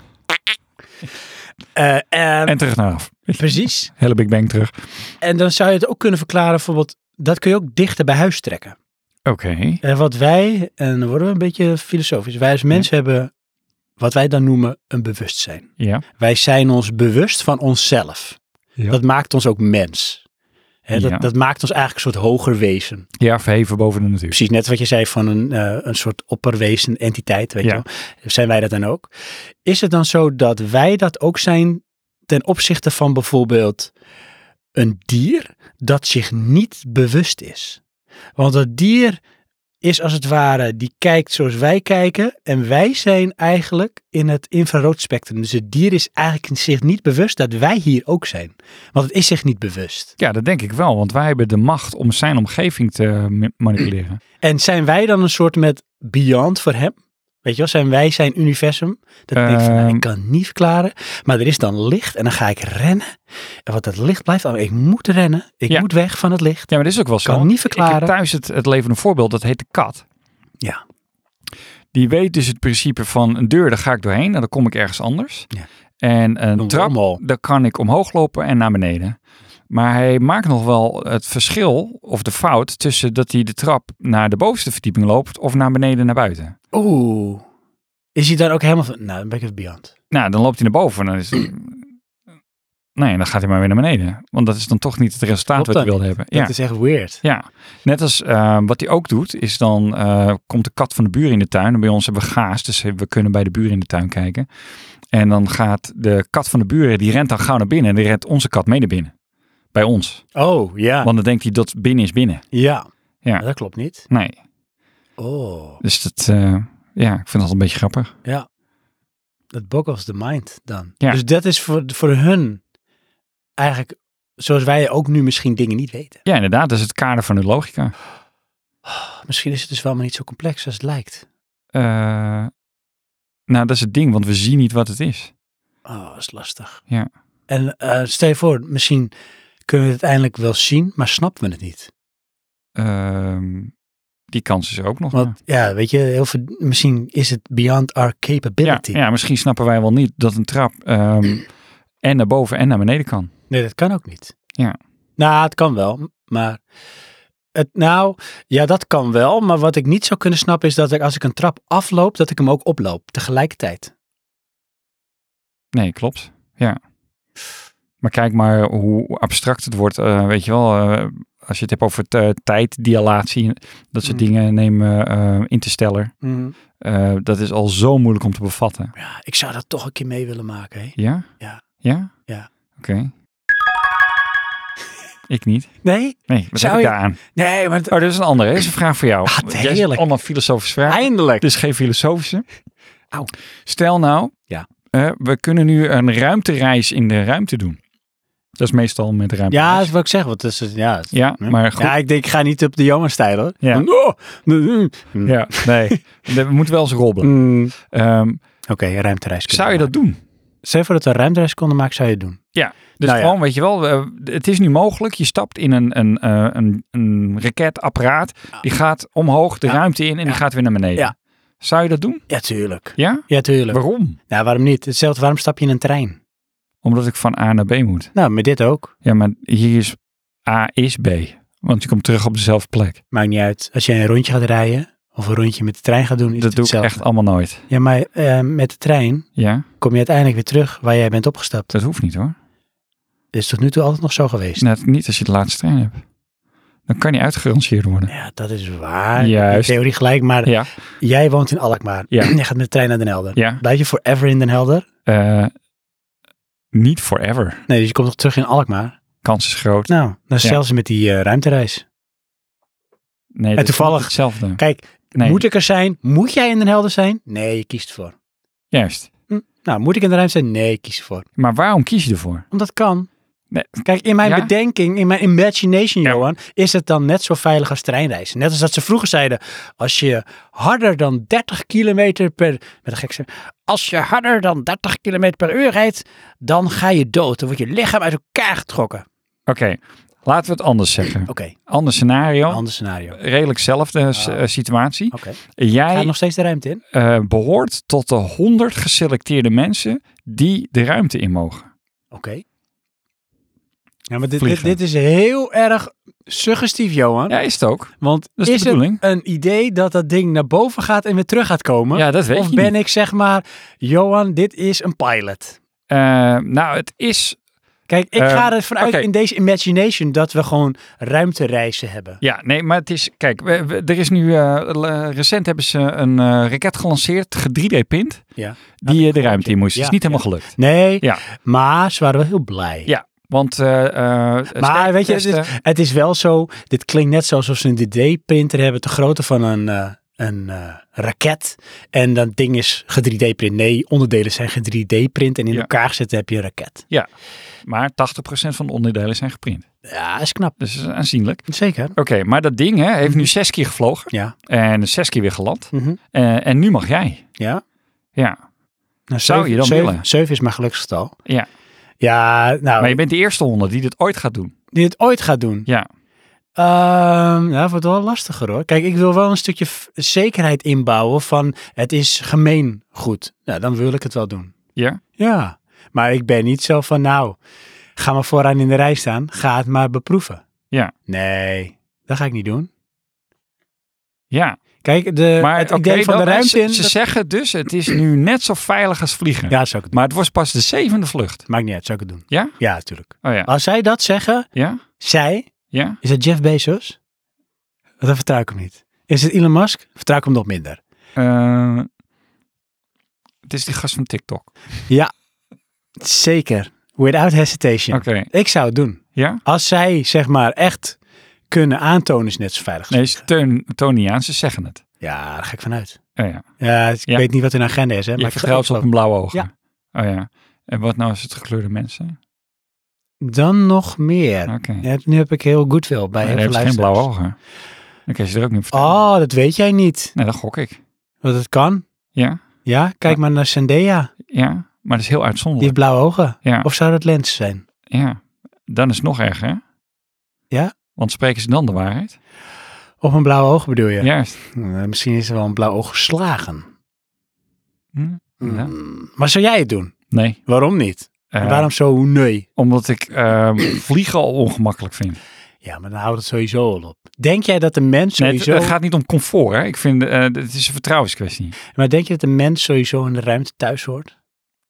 Speaker 2: Eh, en-
Speaker 1: En terug naar af.
Speaker 2: precies.
Speaker 1: Hele Big Bang terug.
Speaker 2: En dan zou je het ook kunnen verklaren, bijvoorbeeld, dat kun je ook dichter bij huis trekken.
Speaker 1: Oké.
Speaker 2: En wat wij, en dan worden we een beetje filosofisch, wij als mensen hebben wat wij dan noemen een bewustzijn.
Speaker 1: Ja.
Speaker 2: Wij zijn ons bewust van onszelf.
Speaker 1: Ja.
Speaker 2: Dat maakt ons ook mens. Hè, dat,
Speaker 1: Ja.
Speaker 2: dat maakt ons eigenlijk een soort hoger wezen.
Speaker 1: Ja, verheven boven de natuur.
Speaker 2: Precies net wat je zei van een, eh, een soort opperwezen, entiteit, weet
Speaker 1: Ja.
Speaker 2: je wel. Zijn wij dat dan ook? Is het dan zo dat wij dat ook zijn ten opzichte van bijvoorbeeld een dier dat zich niet bewust is? Want dat dier is als het ware, die kijkt zoals wij kijken. En wij zijn eigenlijk in het infraroodspectrum. Dus het dier is eigenlijk zich niet bewust dat wij hier ook zijn. Want het is zich niet bewust.
Speaker 1: Ja, dat denk ik wel, want wij hebben de macht om zijn omgeving te ma- manipuleren.
Speaker 2: En zijn wij dan een soort met beyond voor hem? Weet je wel, zijn wij zijn universum? Dat ik denk van, nou,
Speaker 1: Ehm.
Speaker 2: ik kan het niet verklaren. Maar er is dan licht en dan ga ik rennen. En wat dat licht blijft, aan- ik moet rennen. Ik
Speaker 1: Ja.
Speaker 2: moet weg van het licht.
Speaker 1: Ja, maar dat is ook wel zo.
Speaker 2: Kan
Speaker 1: want
Speaker 2: niet verklaren.
Speaker 1: Ik heb thuis het, het levende voorbeeld, dat heet de kat.
Speaker 2: Ja.
Speaker 1: Die weet dus het principe van een deur, daar ga ik doorheen en dan kom ik ergens anders.
Speaker 2: Ja.
Speaker 1: En een
Speaker 2: Noem het
Speaker 1: trap,
Speaker 2: allemaal.
Speaker 1: daar kan ik omhoog lopen en naar beneden. Maar hij maakt nog wel het verschil of de fout tussen dat hij de trap naar de bovenste verdieping loopt of naar beneden naar buiten.
Speaker 2: Oeh. Is hij dan ook helemaal van, nou, dan ben ik het beyond.
Speaker 1: Nou, dan loopt hij naar boven en dan is het... Nee, dan gaat hij maar weer naar beneden. Want dat is dan toch niet het resultaat
Speaker 2: Klopt
Speaker 1: wat hij
Speaker 2: dan
Speaker 1: wilde hebben.
Speaker 2: Dat is echt weird.
Speaker 1: Ja, net als eh, wat hij ook doet, is dan eh, komt de kat van de buur in de tuin. En bij ons hebben we gaas, dus we kunnen bij de buur in de tuin kijken. En dan gaat de kat van de buren, die rent dan gauw naar binnen. En die rent onze kat mee naar binnen. Bij ons.
Speaker 2: Oh, ja.
Speaker 1: Want dan denkt hij dat binnen is binnen.
Speaker 2: Ja.
Speaker 1: Ja.
Speaker 2: Maar Dat klopt niet.
Speaker 1: Nee,
Speaker 2: Oh.
Speaker 1: dus dat, eh, ja, ik vind dat een beetje grappig.
Speaker 2: Ja. Dat boggles the mind dan.
Speaker 1: Ja.
Speaker 2: Dus dat is voor, voor hun eigenlijk zoals wij ook nu misschien dingen niet weten.
Speaker 1: Ja, inderdaad, dat is het kader van de logica.
Speaker 2: Misschien is het dus wel maar niet zo complex als het lijkt.
Speaker 1: Eh, nou, dat is het ding, want we zien niet wat het is.
Speaker 2: Oh, dat is lastig.
Speaker 1: Ja.
Speaker 2: En eh, stel je voor, misschien kunnen we het uiteindelijk wel zien, maar snappen we het niet.
Speaker 1: Ehm, die kans is er ook nog. ja.
Speaker 2: Want ja, weet je, heel veel, misschien is het beyond our
Speaker 1: Ja,
Speaker 2: capability.
Speaker 1: ja, misschien snappen wij wel niet dat een trap ehm, en naar boven en naar beneden kan.
Speaker 2: Nee, dat kan ook niet.
Speaker 1: Ja.
Speaker 2: Nou, het kan wel, maar... Het, nou, ja, dat kan wel. Maar wat ik niet zou kunnen snappen is dat ik als ik een trap afloop, dat ik hem ook oploop tegelijkertijd.
Speaker 1: Nee, klopt. Ja. Maar kijk maar hoe abstract het wordt. eh, weet je wel, eh, als je het hebt over t- eh, tijddilatie, dat soort
Speaker 2: Mm.
Speaker 1: dingen nemen eh interstellar. Eh, dat is al zo moeilijk om te bevatten.
Speaker 2: Ja, ik zou dat toch een keer mee willen maken. Hè?
Speaker 1: Ja?
Speaker 2: Ja.
Speaker 1: Ja?
Speaker 2: Ja.
Speaker 1: Oké. Ik niet.
Speaker 2: Nee?
Speaker 1: Nee, wat
Speaker 2: Zou
Speaker 1: heb ik
Speaker 2: je-
Speaker 1: daar aan?
Speaker 2: Nee, maar... het-
Speaker 1: Oh, dat is een andere. Dat is een vraag voor jou.
Speaker 2: Ah,
Speaker 1: Jij
Speaker 2: heerlijk.
Speaker 1: zit allemaal filosofische vragen.
Speaker 2: Eindelijk.
Speaker 1: Dus geen filosofische.
Speaker 2: Auw.
Speaker 1: Stel nou,
Speaker 2: Ja.
Speaker 1: eh, we kunnen nu een ruimtereis in de ruimte doen. Dat is meestal met ruimte.
Speaker 2: Ja, dat is wat ik zeg. Want dat is, ja, dat is-
Speaker 1: ja, maar goed.
Speaker 2: Ja, ik denk, ik ga niet op de Johan-stijl hoor.
Speaker 1: Ja.
Speaker 2: Van, oh, mm, mm.
Speaker 1: Ja, nee. We moeten wel eens robbelen.
Speaker 2: Mm.
Speaker 1: Ehm,
Speaker 2: Oké, ruimtereis. kunnen
Speaker 1: zou je
Speaker 2: we
Speaker 1: dat doen?
Speaker 2: maken. Stel je voor dat we een ruimtereis konden maken, zou je het doen.
Speaker 1: Dus
Speaker 2: Nou ja.
Speaker 1: gewoon, weet je wel, eh, het is nu mogelijk. Je stapt in een, een, eh, een, een raketapparaat. Die gaat omhoog de
Speaker 2: Ja.
Speaker 1: ruimte in en die
Speaker 2: Ja.
Speaker 1: gaat weer naar beneden.
Speaker 2: Ja.
Speaker 1: Zou je dat doen?
Speaker 2: Ja, tuurlijk.
Speaker 1: Ja?
Speaker 2: Ja, tuurlijk.
Speaker 1: Waarom?
Speaker 2: Nou, waarom niet? Hetzelfde, waarom stap je in een trein?
Speaker 1: Omdat ik van A naar B moet.
Speaker 2: Nou, met dit ook.
Speaker 1: Ja, maar hier is A is B. Want je komt terug op dezelfde plek.
Speaker 2: Maakt niet uit. Als jij een rondje gaat rijden of een rondje met de trein gaat doen, is
Speaker 1: Dat
Speaker 2: het
Speaker 1: doe ik
Speaker 2: hetzelfde.
Speaker 1: echt allemaal nooit.
Speaker 2: Ja, maar eh, met de trein
Speaker 1: Ja,
Speaker 2: kom je uiteindelijk weer terug waar jij bent opgestapt.
Speaker 1: dat hoeft niet hoor.
Speaker 2: Dat is tot nu toe altijd nog zo geweest.
Speaker 1: Net niet als je de laatste trein hebt. Dan kan die uitgeranceerd worden.
Speaker 2: Ja, dat is waar.
Speaker 1: Juist.
Speaker 2: In theorie gelijk, maar
Speaker 1: Ja,
Speaker 2: jij woont in Alkmaar.
Speaker 1: Ja.
Speaker 2: jij gaat met de trein naar Den Helder.
Speaker 1: ja.
Speaker 2: Blijf je forever in Den Helder?
Speaker 1: Eh, niet forever.
Speaker 2: Nee, dus je komt nog terug in Alkmaar.
Speaker 1: Kans is groot.
Speaker 2: Nou, dan
Speaker 1: Ja.
Speaker 2: stel ze met die eh, ruimtereis.
Speaker 1: Nee, dat is
Speaker 2: toevallig-
Speaker 1: niet hetzelfde.
Speaker 2: Kijk,
Speaker 1: Nee,
Speaker 2: moet ik er zijn? Moet jij in Den Helder zijn? Nee, je kiest ervoor.
Speaker 1: juist.
Speaker 2: Nou, moet ik in de ruimte zijn? Nee, ik kies ervoor.
Speaker 1: Maar waarom kies je ervoor?
Speaker 2: Omdat kan.
Speaker 1: Nee.
Speaker 2: Kijk, in mijn
Speaker 1: Ja?
Speaker 2: bedenking, in mijn imagination,
Speaker 1: Ja.
Speaker 2: Johan, is het dan net zo veilig als treinreizen. Net als dat ze vroeger zeiden, als je harder dan 30 kilometer per... Met een gekse... Als je harder dan 30 kilometer per uur rijdt, dan ga je dood. Dan wordt je lichaam uit elkaar getrokken. Oké,
Speaker 1: Oké, laten we het anders zeggen. Ander scenario.
Speaker 2: een ander scenario. Oké.
Speaker 1: Redelijk zelfde s-
Speaker 2: Ah.
Speaker 1: eh, situatie.
Speaker 2: Ga je
Speaker 1: Jij
Speaker 2: nog steeds de ruimte in?
Speaker 1: eh, behoort tot de 100 geselecteerde mensen die de ruimte in mogen.
Speaker 2: Oké. Ja, maar dit, dit,
Speaker 1: Vliegen.
Speaker 2: dit is heel erg suggestief, Johan.
Speaker 1: Ja, is het ook.
Speaker 2: Want
Speaker 1: Dat is
Speaker 2: is,
Speaker 1: de
Speaker 2: het
Speaker 1: bedoeling.
Speaker 2: een idee dat dat ding naar boven gaat en weer terug gaat komen?
Speaker 1: Ja, dat weet
Speaker 2: of
Speaker 1: je
Speaker 2: ben
Speaker 1: niet.
Speaker 2: ik zeg maar, Johan, dit is een pilot.
Speaker 1: Eh, nou, het is
Speaker 2: Kijk, ik
Speaker 1: Ehm,
Speaker 2: ga ervan uit
Speaker 1: oké.
Speaker 2: in deze imagination dat we gewoon ruimtereizen hebben.
Speaker 1: Ja, nee, maar het is. Kijk, we- we- er is nu. eh, le- recent hebben ze een eh, raket gelanceerd, 3D-print,
Speaker 2: Ja.
Speaker 1: die eh, de ruimte in moest.
Speaker 2: Ja,
Speaker 1: is niet helemaal gelukt.
Speaker 2: Nee,
Speaker 1: Ja.
Speaker 2: maar ze waren wel heel blij.
Speaker 1: Ja, Want eh, eh,
Speaker 2: Maar weet je, het
Speaker 1: steektesten-
Speaker 2: is, het is wel zo. Dit klinkt net zo alsof ze een 3D-printer hebben, te grootte van een, eh, een eh, raket. En dat ding is ge-3D-print. Nee, onderdelen zijn ge-3D-print. En in
Speaker 1: Ja.
Speaker 2: elkaar gezet heb je een raket.
Speaker 1: maar 80% van de onderdelen zijn geprint.
Speaker 2: Ja, is knap.
Speaker 1: Dus dat is aanzienlijk.
Speaker 2: Zeker.
Speaker 1: Oké, maar dat ding hè,
Speaker 2: Mhm.
Speaker 1: heeft nu zes keer gevlogen.
Speaker 2: Ja.
Speaker 1: En zes keer weer geland.
Speaker 2: Mhm.
Speaker 1: Eh, en nu mag jij.
Speaker 2: ja.
Speaker 1: Ja. Zou
Speaker 2: Nou, zeven-
Speaker 1: je dan
Speaker 2: zeven-
Speaker 1: willen?
Speaker 2: Zeven is mijn geluksgetal.
Speaker 1: Ja.
Speaker 2: Ja, nou,
Speaker 1: Maar je bent de eerste honderd die dit ooit gaat doen.
Speaker 2: die het ooit gaat doen.
Speaker 1: Ja.
Speaker 2: Ehm, ja, wordt wel lastiger hoor. Kijk, ik wil wel een stukje f- zekerheid inbouwen van het is gemeen goed. Nou, dan wil ik het wel doen.
Speaker 1: Ja?
Speaker 2: Ja, maar ik ben niet zo van nou, ga maar vooraan in de rij staan, ga het maar beproeven.
Speaker 1: Ja.
Speaker 2: Nee, dat ga ik niet doen.
Speaker 1: Ja.
Speaker 2: Kijk, de,
Speaker 1: Maar
Speaker 2: Eh, het
Speaker 1: oké,
Speaker 2: idee van de
Speaker 1: dan-
Speaker 2: ruimte
Speaker 1: ze,
Speaker 2: in...
Speaker 1: ze
Speaker 2: dat-
Speaker 1: zeggen dus, het is nu net zo veilig als vliegen.
Speaker 2: ja, zou ik het doen.
Speaker 1: Maar het was pas de zevende vlucht.
Speaker 2: Maakt niet uit, zou ik het doen.
Speaker 1: Ja?
Speaker 2: Ja, natuurlijk.
Speaker 1: Oh ja.
Speaker 2: Als zij dat zeggen,
Speaker 1: Ja?
Speaker 2: zij,
Speaker 1: Ja?
Speaker 2: is dat Jeff Bezos? Dat vertrouw ik hem niet. Is het Elon Musk? Vertrouw ik hem nog minder.
Speaker 1: Eh, het is die gast van TikTok.
Speaker 2: Zeker. Without hesitation.
Speaker 1: Oké.
Speaker 2: Ik zou het doen.
Speaker 1: Ja?
Speaker 2: Als zij, zeg maar, echt kunnen aantonen is het net zo veilig.
Speaker 1: Nee, ze teun, Tony aan, ze zeggen het.
Speaker 2: Ja, daar ga ik vanuit.
Speaker 1: Oh ja.
Speaker 2: Ja, ik
Speaker 1: Ja.
Speaker 2: weet niet wat hun agenda is, hè.
Speaker 1: Je
Speaker 2: ik
Speaker 1: vertrouwt ze op
Speaker 2: geloof-
Speaker 1: een blauwe ogen.
Speaker 2: Ja.
Speaker 1: Oh ja. En wat nou als het gekleurde mensen? zijn?
Speaker 2: Dan nog meer.
Speaker 1: Oké.
Speaker 2: Ja, nu heb ik heel goed wel bij
Speaker 1: Hij
Speaker 2: heel
Speaker 1: heeft
Speaker 2: veel
Speaker 1: geen
Speaker 2: luisteraars.
Speaker 1: blauwe ogen. Dan kun je ze er ook niet op vertrouwen.
Speaker 2: Oh, dat weet jij niet.
Speaker 1: Nee, dat gok ik.
Speaker 2: Want het kan.
Speaker 1: Ja?
Speaker 2: Ja, kijk maar naar Zendaya.
Speaker 1: Ja? Maar dat is heel
Speaker 2: Die heeft
Speaker 1: uitzonderlijk.
Speaker 2: blauwe ogen.
Speaker 1: Ja.
Speaker 2: Of zou dat lens zijn?
Speaker 1: Ja. Dan is het nog erger, hè?
Speaker 2: Ja?
Speaker 1: Want spreken ze dan de waarheid?
Speaker 2: Of een blauwe oog bedoel je?
Speaker 1: Juist.
Speaker 2: Hm, Misschien is er wel een blauw oog geslagen.
Speaker 1: Hm? Ja.
Speaker 2: Hm, Maar zou jij het doen?
Speaker 1: Nee.
Speaker 2: Waarom niet?
Speaker 1: Eh,
Speaker 2: En waarom zo nee?
Speaker 1: Omdat ik ehm, vliegen al ongemakkelijk vind.
Speaker 2: Ja, maar dan houdt het sowieso al op. Denk jij dat de mens
Speaker 1: Nee, het,
Speaker 2: sowieso...
Speaker 1: het eh, gaat niet om comfort, hè? Ik vind, eh, het is een vertrouwenskwestie.
Speaker 2: Maar denk je dat de mens sowieso in de ruimte thuis hoort?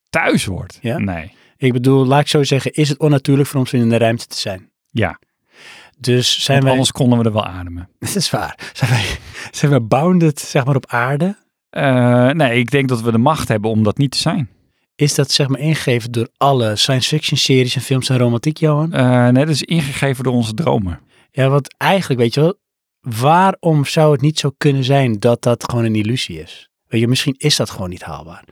Speaker 1: Thuis wordt?
Speaker 2: Ja?
Speaker 1: Nee.
Speaker 2: Ik bedoel, laat ik zo zeggen, is het onnatuurlijk voor ons om in de ruimte te zijn?
Speaker 1: Ja.
Speaker 2: Dus zijn
Speaker 1: Want
Speaker 2: wij...
Speaker 1: anders konden we er wel ademen.
Speaker 2: Dat is waar. Zijn wij, zijn wij bounded, zeg maar, op aarde?
Speaker 1: Eh, nee, ik denk dat we de macht hebben om dat niet te zijn.
Speaker 2: Is dat, zeg maar, ingegeven door alle science fiction series en films en romantiek, Johan?
Speaker 1: Eh, nee, dat is ingegeven door onze dromen.
Speaker 2: Ja, want eigenlijk, weet je wel, waarom zou het niet zo kunnen zijn dat dat gewoon een illusie is? Weet je, misschien is dat gewoon niet haalbaar.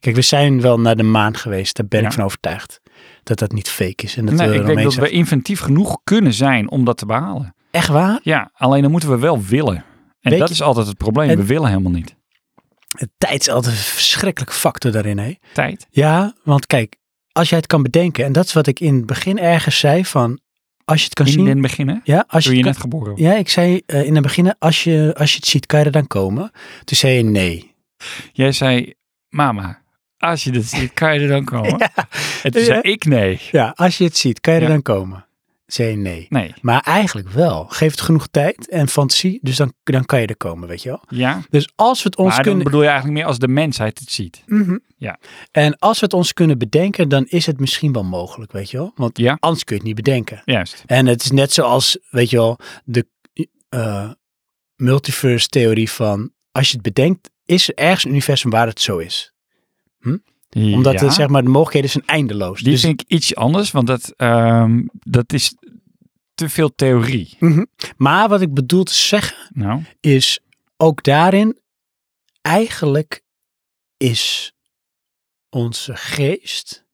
Speaker 2: Kijk, we zijn wel naar de maan geweest, daar ben
Speaker 1: Ja.
Speaker 2: ik van overtuigd. Dat dat niet fake is en dat
Speaker 1: nee,
Speaker 2: we
Speaker 1: ik
Speaker 2: er
Speaker 1: denk dat
Speaker 2: opeens...
Speaker 1: we inventief genoeg kunnen zijn om dat te behalen.
Speaker 2: Echt waar?
Speaker 1: Ja, alleen dan moeten we wel willen. En
Speaker 2: Weet
Speaker 1: dat
Speaker 2: je-
Speaker 1: is altijd het probleem.
Speaker 2: En-
Speaker 1: We willen helemaal niet.
Speaker 2: De tijd is altijd een verschrikkelijke factor daarin, hè?
Speaker 1: Tijd.
Speaker 2: Ja, want kijk, als jij het kan bedenken, en dat is wat ik in het begin ergens zei van, als je het kan
Speaker 1: In
Speaker 2: zien,
Speaker 1: den beginnen.
Speaker 2: ja, als
Speaker 1: Toen
Speaker 2: je,
Speaker 1: je
Speaker 2: het
Speaker 1: net
Speaker 2: kan-
Speaker 1: geboren was.
Speaker 2: ja, ik zei eh, in het begin, als je, als je het ziet, kan je er dan komen? Toen zei je nee.
Speaker 1: Jij zei, mama, als je dit ziet, kan je er dan komen? En toen
Speaker 2: Ja.
Speaker 1: zei ik nee.
Speaker 2: Ja, als je het ziet, kan je er
Speaker 1: Ja.
Speaker 2: dan komen? Toen zei je nee.
Speaker 1: Nee.
Speaker 2: Maar eigenlijk wel. Geef het genoeg tijd en fantasie, dus dan, dan kan je er komen, weet je wel?
Speaker 1: Ja,
Speaker 2: Dus als we het ons
Speaker 1: maar dan
Speaker 2: kunnen...
Speaker 1: bedoel je eigenlijk meer als de mensheid het ziet.
Speaker 2: Mhm.
Speaker 1: Ja.
Speaker 2: En als we het ons kunnen bedenken, dan is het misschien wel mogelijk, weet je wel? Want
Speaker 1: Ja.
Speaker 2: anders kun je het niet bedenken.
Speaker 1: Juist.
Speaker 2: En het is net zoals, weet je wel, de eh, multiverse-theorie van als je het bedenkt, is er ergens een universum waar het zo is. Omdat
Speaker 1: Ja.
Speaker 2: het, zeg maar, de mogelijkheden zijn eindeloos.
Speaker 1: Die
Speaker 2: dus,
Speaker 1: vind ik iets anders, want dat, ehm, dat is te veel theorie.
Speaker 2: maar wat ik bedoel te zeggen
Speaker 1: Nou,
Speaker 2: is ook daarin, eigenlijk is onze geest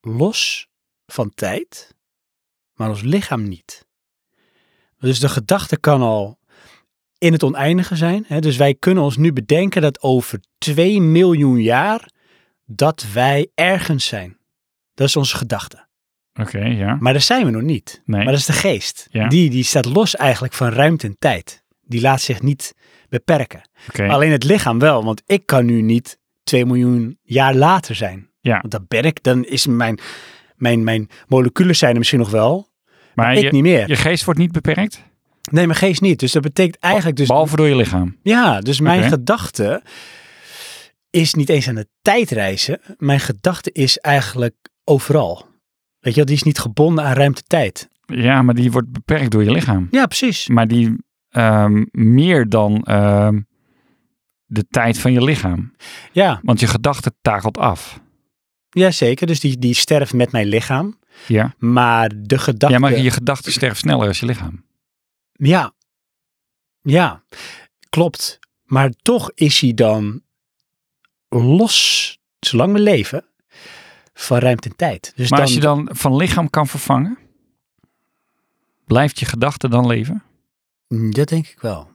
Speaker 2: los van tijd, maar ons lichaam niet. Dus de gedachte kan al in het oneindige zijn. Hè? Dus wij kunnen ons nu bedenken dat over 2 miljoen jaar dat wij ergens zijn. Dat is onze gedachte.
Speaker 1: oké, ja.
Speaker 2: Maar daar zijn we nog niet.
Speaker 1: Nee.
Speaker 2: Maar dat is de geest.
Speaker 1: Ja.
Speaker 2: Die, die staat los eigenlijk van ruimte en tijd. Die laat zich niet beperken.
Speaker 1: Oké.
Speaker 2: Alleen het lichaam wel, want ik kan nu niet 2 miljoen jaar later zijn.
Speaker 1: Ja.
Speaker 2: Want dat ben ik, dan is mijn, mijn, mijn moleculen zijn er misschien nog wel,
Speaker 1: Maar
Speaker 2: ik
Speaker 1: je,
Speaker 2: niet meer.
Speaker 1: je geest wordt niet beperkt,
Speaker 2: Nee, mijn geest niet. Dus dat betekent eigenlijk dus...
Speaker 1: behalve door je lichaam.
Speaker 2: Ja, dus mijn
Speaker 1: Oké.
Speaker 2: gedachte is niet eens aan de tijd reizen. Mijn gedachte is eigenlijk overal. Weet je wel, die is niet gebonden aan ruimte-tijd.
Speaker 1: Ja, maar die wordt beperkt door je lichaam.
Speaker 2: Ja, precies.
Speaker 1: Maar die ehm, meer dan ehm, de tijd van je lichaam.
Speaker 2: Ja,
Speaker 1: Want je gedachte takelt af.
Speaker 2: Jazeker, dus die, die sterft met mijn lichaam.
Speaker 1: Ja.
Speaker 2: Maar de gedachte...
Speaker 1: ja, maar je gedachten sterven sneller als je lichaam.
Speaker 2: Ja. Ja, klopt. Maar toch is hij dan los, zolang we leven, van ruimte en tijd. Dus
Speaker 1: maar
Speaker 2: dan,
Speaker 1: als je dan van lichaam kan vervangen, blijft je gedachte dan leven?
Speaker 2: Mm, Dat denk ik wel.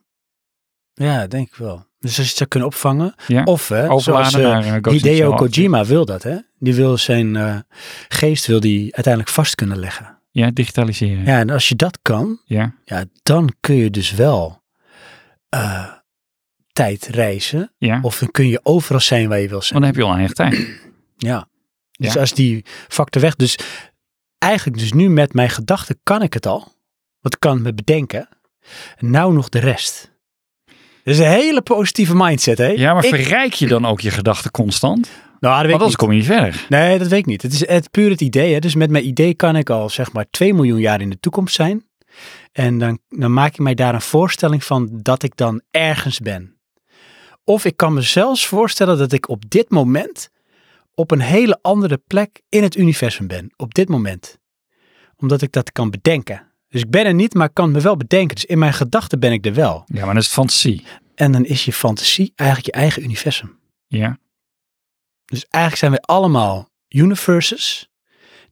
Speaker 2: Ja, dat denk ik wel. Dus als je het zou kunnen opvangen.
Speaker 1: Ja.
Speaker 2: Of hè, zoals
Speaker 1: Overladen
Speaker 2: eh,
Speaker 1: naar eh, Ghost in the
Speaker 2: Hideo
Speaker 1: Shell.
Speaker 2: Kojima wil dat, hè? Die wil zijn eh, geest wil die uiteindelijk vast kunnen leggen.
Speaker 1: Ja, digitaliseren. Ja.
Speaker 2: Ja, en als je dat kan,
Speaker 1: Ja.
Speaker 2: ja, dan kun je dus wel eh, tijd reizen. Of dan kun je overal zijn waar je wil zijn.
Speaker 1: Want dan heb je al eigen tijd.
Speaker 2: Ja. Dus
Speaker 1: Ja.
Speaker 2: als die factor weg. Dus eigenlijk dus nu met mijn gedachten kan ik het al. Want ik kan het me bedenken. En nou nog de rest. Dat is een hele positieve mindset, hè?
Speaker 1: Ja, maar
Speaker 2: Ik-
Speaker 1: verrijk je dan ook je gedachten constant?
Speaker 2: Nou, dat weet
Speaker 1: Want
Speaker 2: ik
Speaker 1: anders
Speaker 2: niet.
Speaker 1: kom je niet verder.
Speaker 2: Nee, dat weet ik niet. Het is het, puur het idee. Hè? Dus met mijn idee kan ik al zeg maar 2 miljoen jaar in de toekomst zijn. En dan, dan maak ik mij daar een voorstelling van dat ik dan ergens ben. Of ik kan me zelfs voorstellen dat ik op dit moment op een hele andere plek in het universum ben. Op dit moment. Omdat ik dat kan bedenken. Dus ik ben er niet, maar ik kan het me wel bedenken. Dus in mijn gedachten ben ik er wel.
Speaker 1: Ja, maar dat is fantasie.
Speaker 2: En dan is je fantasie eigenlijk je eigen universum.
Speaker 1: Ja.
Speaker 2: Dus eigenlijk zijn wij allemaal universes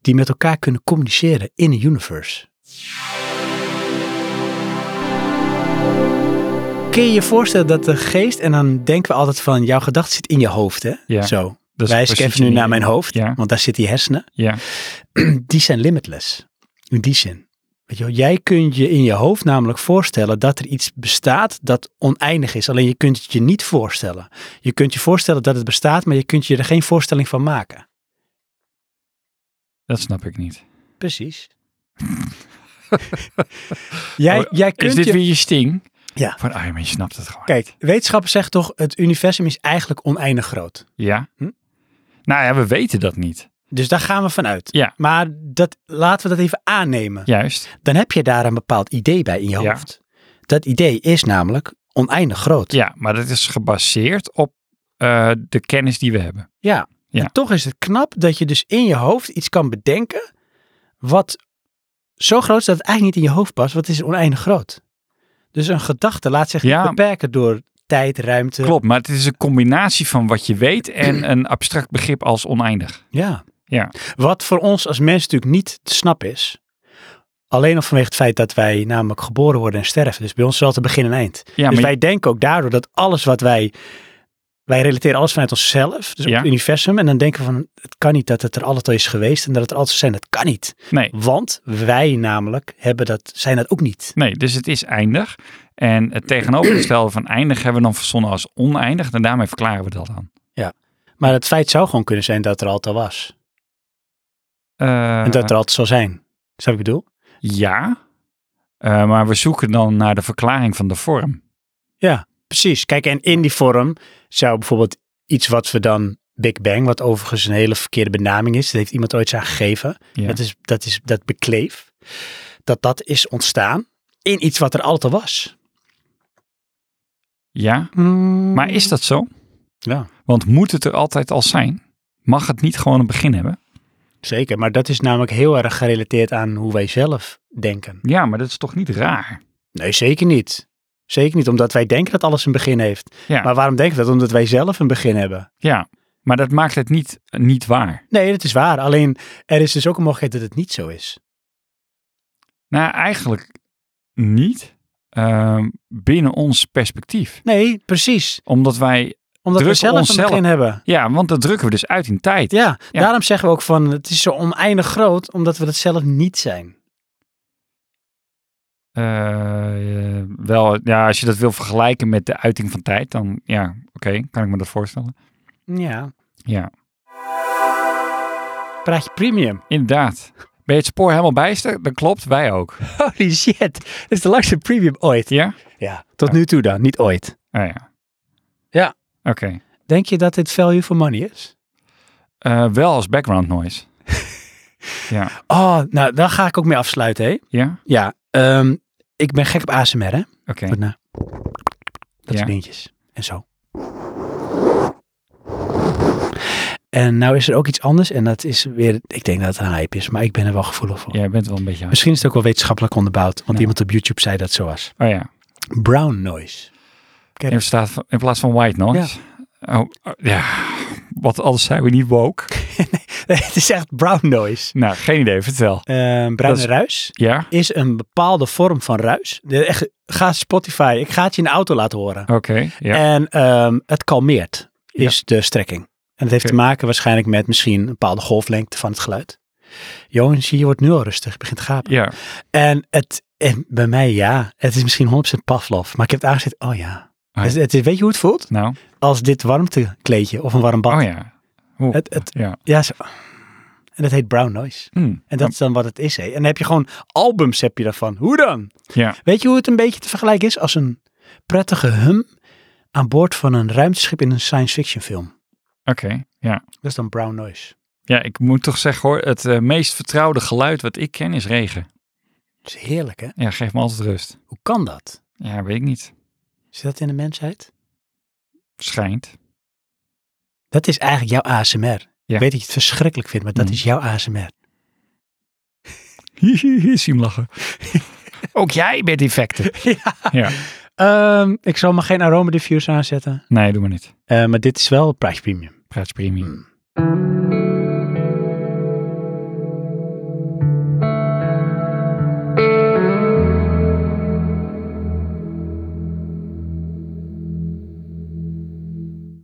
Speaker 2: die met elkaar kunnen communiceren in een universe. Kun je je voorstellen dat de geest, en dan denken we altijd van jouw gedachte zit in je hoofd, hè?
Speaker 1: Ja,
Speaker 2: Zo.
Speaker 1: Dat is
Speaker 2: Wijs ik
Speaker 1: precies
Speaker 2: even nu
Speaker 1: niet-
Speaker 2: naar mijn hoofd,
Speaker 1: Ja.
Speaker 2: want daar zitten die hersenen.
Speaker 1: Ja.
Speaker 2: Die zijn limitless, in die zin. Weet je wel, jij kunt je in je hoofd namelijk voorstellen dat er iets bestaat dat oneindig is. Alleen je kunt het je niet voorstellen. Je kunt je voorstellen dat het bestaat, maar je kunt je er geen voorstelling van maken.
Speaker 1: Dat snap ik niet.
Speaker 2: Precies. jij, jij kunt
Speaker 1: Oh, Is dit
Speaker 2: je...
Speaker 1: weer je sting?
Speaker 2: Ja.
Speaker 1: Van, ah ja, maar je snapt het gewoon.
Speaker 2: Kijk, wetenschappers zeggen toch, het universum is eigenlijk oneindig groot.
Speaker 1: Ja.
Speaker 2: Hm?
Speaker 1: Nou ja, we weten dat niet.
Speaker 2: Dus daar gaan we vanuit.
Speaker 1: Ja.
Speaker 2: Maar dat, laten we dat even aannemen.
Speaker 1: Juist.
Speaker 2: Dan heb je daar een bepaald idee bij in je
Speaker 1: Ja.
Speaker 2: hoofd. Dat idee is namelijk oneindig groot.
Speaker 1: Ja, maar dat is gebaseerd op eh, de kennis die we hebben.
Speaker 2: Ja.
Speaker 1: Ja.
Speaker 2: En toch is het knap dat je dus in je hoofd iets kan bedenken wat zo groot is dat het eigenlijk niet in je hoofd past, want het is oneindig groot. Dus een gedachte laat zich
Speaker 1: Ja.
Speaker 2: niet beperken door tijd, ruimte.
Speaker 1: Klopt, maar het is een combinatie van wat je weet en een abstract begrip als oneindig.
Speaker 2: Ja.
Speaker 1: Ja.
Speaker 2: Wat voor ons als mens natuurlijk niet te snap is. Alleen al vanwege het feit dat wij namelijk geboren worden en sterven. Dus bij ons is altijd begin en eind.
Speaker 1: Ja,
Speaker 2: dus
Speaker 1: maar
Speaker 2: wij denken ook daardoor dat alles wat wij... Wij relateren alles vanuit onszelf, dus op
Speaker 1: Ja.
Speaker 2: het universum. En dan denken we van, het kan niet dat het er altijd al is geweest en dat het er altijd zal zijn. Dat kan niet.
Speaker 1: nee,
Speaker 2: Want wij namelijk hebben dat, zijn dat ook niet.
Speaker 1: nee, dus het is eindig. En het tegenovergestelde van eindig hebben we dan verzonnen als oneindig. En daarmee verklaren we dat dan.
Speaker 2: Maar het feit zou gewoon kunnen zijn dat er altijd al was.
Speaker 1: Eh,
Speaker 2: En dat er altijd zal zijn. Snap je wat ik bedoel?
Speaker 1: Ja, Eh, maar we zoeken dan naar de verklaring van de vorm.
Speaker 2: Precies. Kijk, en in die vorm zou bijvoorbeeld iets wat we dan Big Bang, wat overigens een hele verkeerde benaming is, dat heeft iemand ooit aan gegeven.
Speaker 1: Ja.
Speaker 2: Dat is dat is dat bekleef. Dat dat is ontstaan in iets wat er altijd al was.
Speaker 1: Ja, maar is dat zo?
Speaker 2: Ja.
Speaker 1: Want moet het er altijd al zijn? Mag het niet gewoon een begin hebben?
Speaker 2: Zeker, maar dat is namelijk heel erg gerelateerd aan hoe wij zelf denken.
Speaker 1: Ja, maar dat is toch niet raar?
Speaker 2: Nee, zeker niet. Zeker niet, omdat wij denken dat alles een begin heeft.
Speaker 1: Ja.
Speaker 2: Maar waarom denken we dat? Omdat wij zelf een begin hebben.
Speaker 1: Ja, maar dat maakt het niet, niet waar.
Speaker 2: Nee, dat is waar. Alleen er is dus ook een mogelijkheid dat het niet zo is.
Speaker 1: Nou, eigenlijk niet ehm, binnen ons perspectief.
Speaker 2: Nee, precies.
Speaker 1: Omdat wij,
Speaker 2: Omdat
Speaker 1: Druk
Speaker 2: we zelf
Speaker 1: onszelf.
Speaker 2: een begin hebben.
Speaker 1: ja, want dat drukken we dus uit in tijd.
Speaker 2: Ja,
Speaker 1: Ja.
Speaker 2: daarom zeggen we ook van het is zo oneindig groot, omdat we dat zelf niet zijn.
Speaker 1: Eh, eh, wel, ja, als je dat wil vergelijken met de uiting van tijd, dan ja, oké, kan ik me dat voorstellen.
Speaker 2: Ja.
Speaker 1: Ja.
Speaker 2: Praat je premium?
Speaker 1: Inderdaad. Ben je het spoor helemaal bijster? Dat klopt, wij ook.
Speaker 2: Holy shit, dit is de langste premium ooit.
Speaker 1: Ja?
Speaker 2: Ja, tot nu toe dan, niet ooit.
Speaker 1: Oh ja.
Speaker 2: Ja.
Speaker 1: Oké.
Speaker 2: Denk je dat dit value for money is?
Speaker 1: Eh, wel als background noise. ja.
Speaker 2: Oh, nou, daar ga ik ook mee afsluiten, hè?
Speaker 1: Ja?
Speaker 2: Ja, ehm, ik ben gek op ASMR, hè?
Speaker 1: Oké.
Speaker 2: Met, nou, dat
Speaker 1: Ja.
Speaker 2: soort dingetjes. En zo. En nou is er ook iets anders en dat is weer, ik denk dat het een hype is, maar ik ben er wel gevoelig voor.
Speaker 1: Jij bent wel een beetje... hard.
Speaker 2: Misschien is het ook wel wetenschappelijk onderbouwd, want
Speaker 1: Ja.
Speaker 2: iemand op YouTube zei dat zo was.
Speaker 1: Oh ja.
Speaker 2: Brown noise. Ken
Speaker 1: In, staat van- in plaats van white noise. Oh, oh, ja. Wat anders zijn we niet woke.
Speaker 2: het is echt brown noise.
Speaker 1: Nou, geen idee. Vertel.
Speaker 2: Eh,
Speaker 1: Dat
Speaker 2: bruine
Speaker 1: is-
Speaker 2: ruis
Speaker 1: Ja?
Speaker 2: is een bepaalde vorm van ruis. De- Echt, ga Spotify, ik ga het je in de auto laten horen.
Speaker 1: Oké. Ja.
Speaker 2: En ehm, het kalmeert,
Speaker 1: Ja.
Speaker 2: is de strekking. En dat heeft
Speaker 1: Oké.
Speaker 2: te maken waarschijnlijk met misschien een bepaalde golflengte van het geluid. Johan, zie je, je wordt nu al rustig, je begint te gapen.
Speaker 1: ja.
Speaker 2: En, het, en bij mij ja, het is misschien 100% Pavlov, maar ik heb het aangezet, oh ja.
Speaker 1: Ah, ja.
Speaker 2: Het, het is- weet je hoe het voelt?
Speaker 1: Nou.
Speaker 2: Als dit warmtekleedje of een warm bad.
Speaker 1: Oh ja. Oeh.
Speaker 2: Het- het-
Speaker 1: ja.
Speaker 2: Ja, zo. En dat heet brown noise.
Speaker 1: Hmm.
Speaker 2: En dat is dan wat het is. Hè. En dan heb je gewoon albums heb je daarvan. Hoe dan?
Speaker 1: Ja.
Speaker 2: Weet je hoe het een beetje te vergelijken is? Als een prettige hum aan boord van een ruimteschip in een science fiction film.
Speaker 1: Oké. Ja.
Speaker 2: Dat is dan brown noise.
Speaker 1: Ja, ik moet toch zeggen hoor, het eh, meest vertrouwde geluid wat ik ken is regen.
Speaker 2: Dat is heerlijk, hè?
Speaker 1: Ja, geef me altijd rust.
Speaker 2: Hoe kan dat?
Speaker 1: Ja, weet ik niet.
Speaker 2: Zit dat in de mensheid?
Speaker 1: Schijnt.
Speaker 2: Dat is eigenlijk jouw ASMR.
Speaker 1: Ja.
Speaker 2: Ik weet dat je het verschrikkelijk vindt, maar dat
Speaker 1: Mm.
Speaker 2: is jouw ASMR.
Speaker 1: Zie hem lachen. Ook jij bent infecten. Ja.
Speaker 2: Ehm, ik zal maar geen aroma diffuser aanzetten.
Speaker 1: Nee, doe maar niet.
Speaker 2: Eh, maar dit is wel Price Premium.
Speaker 1: Praatje premium.
Speaker 2: Mm.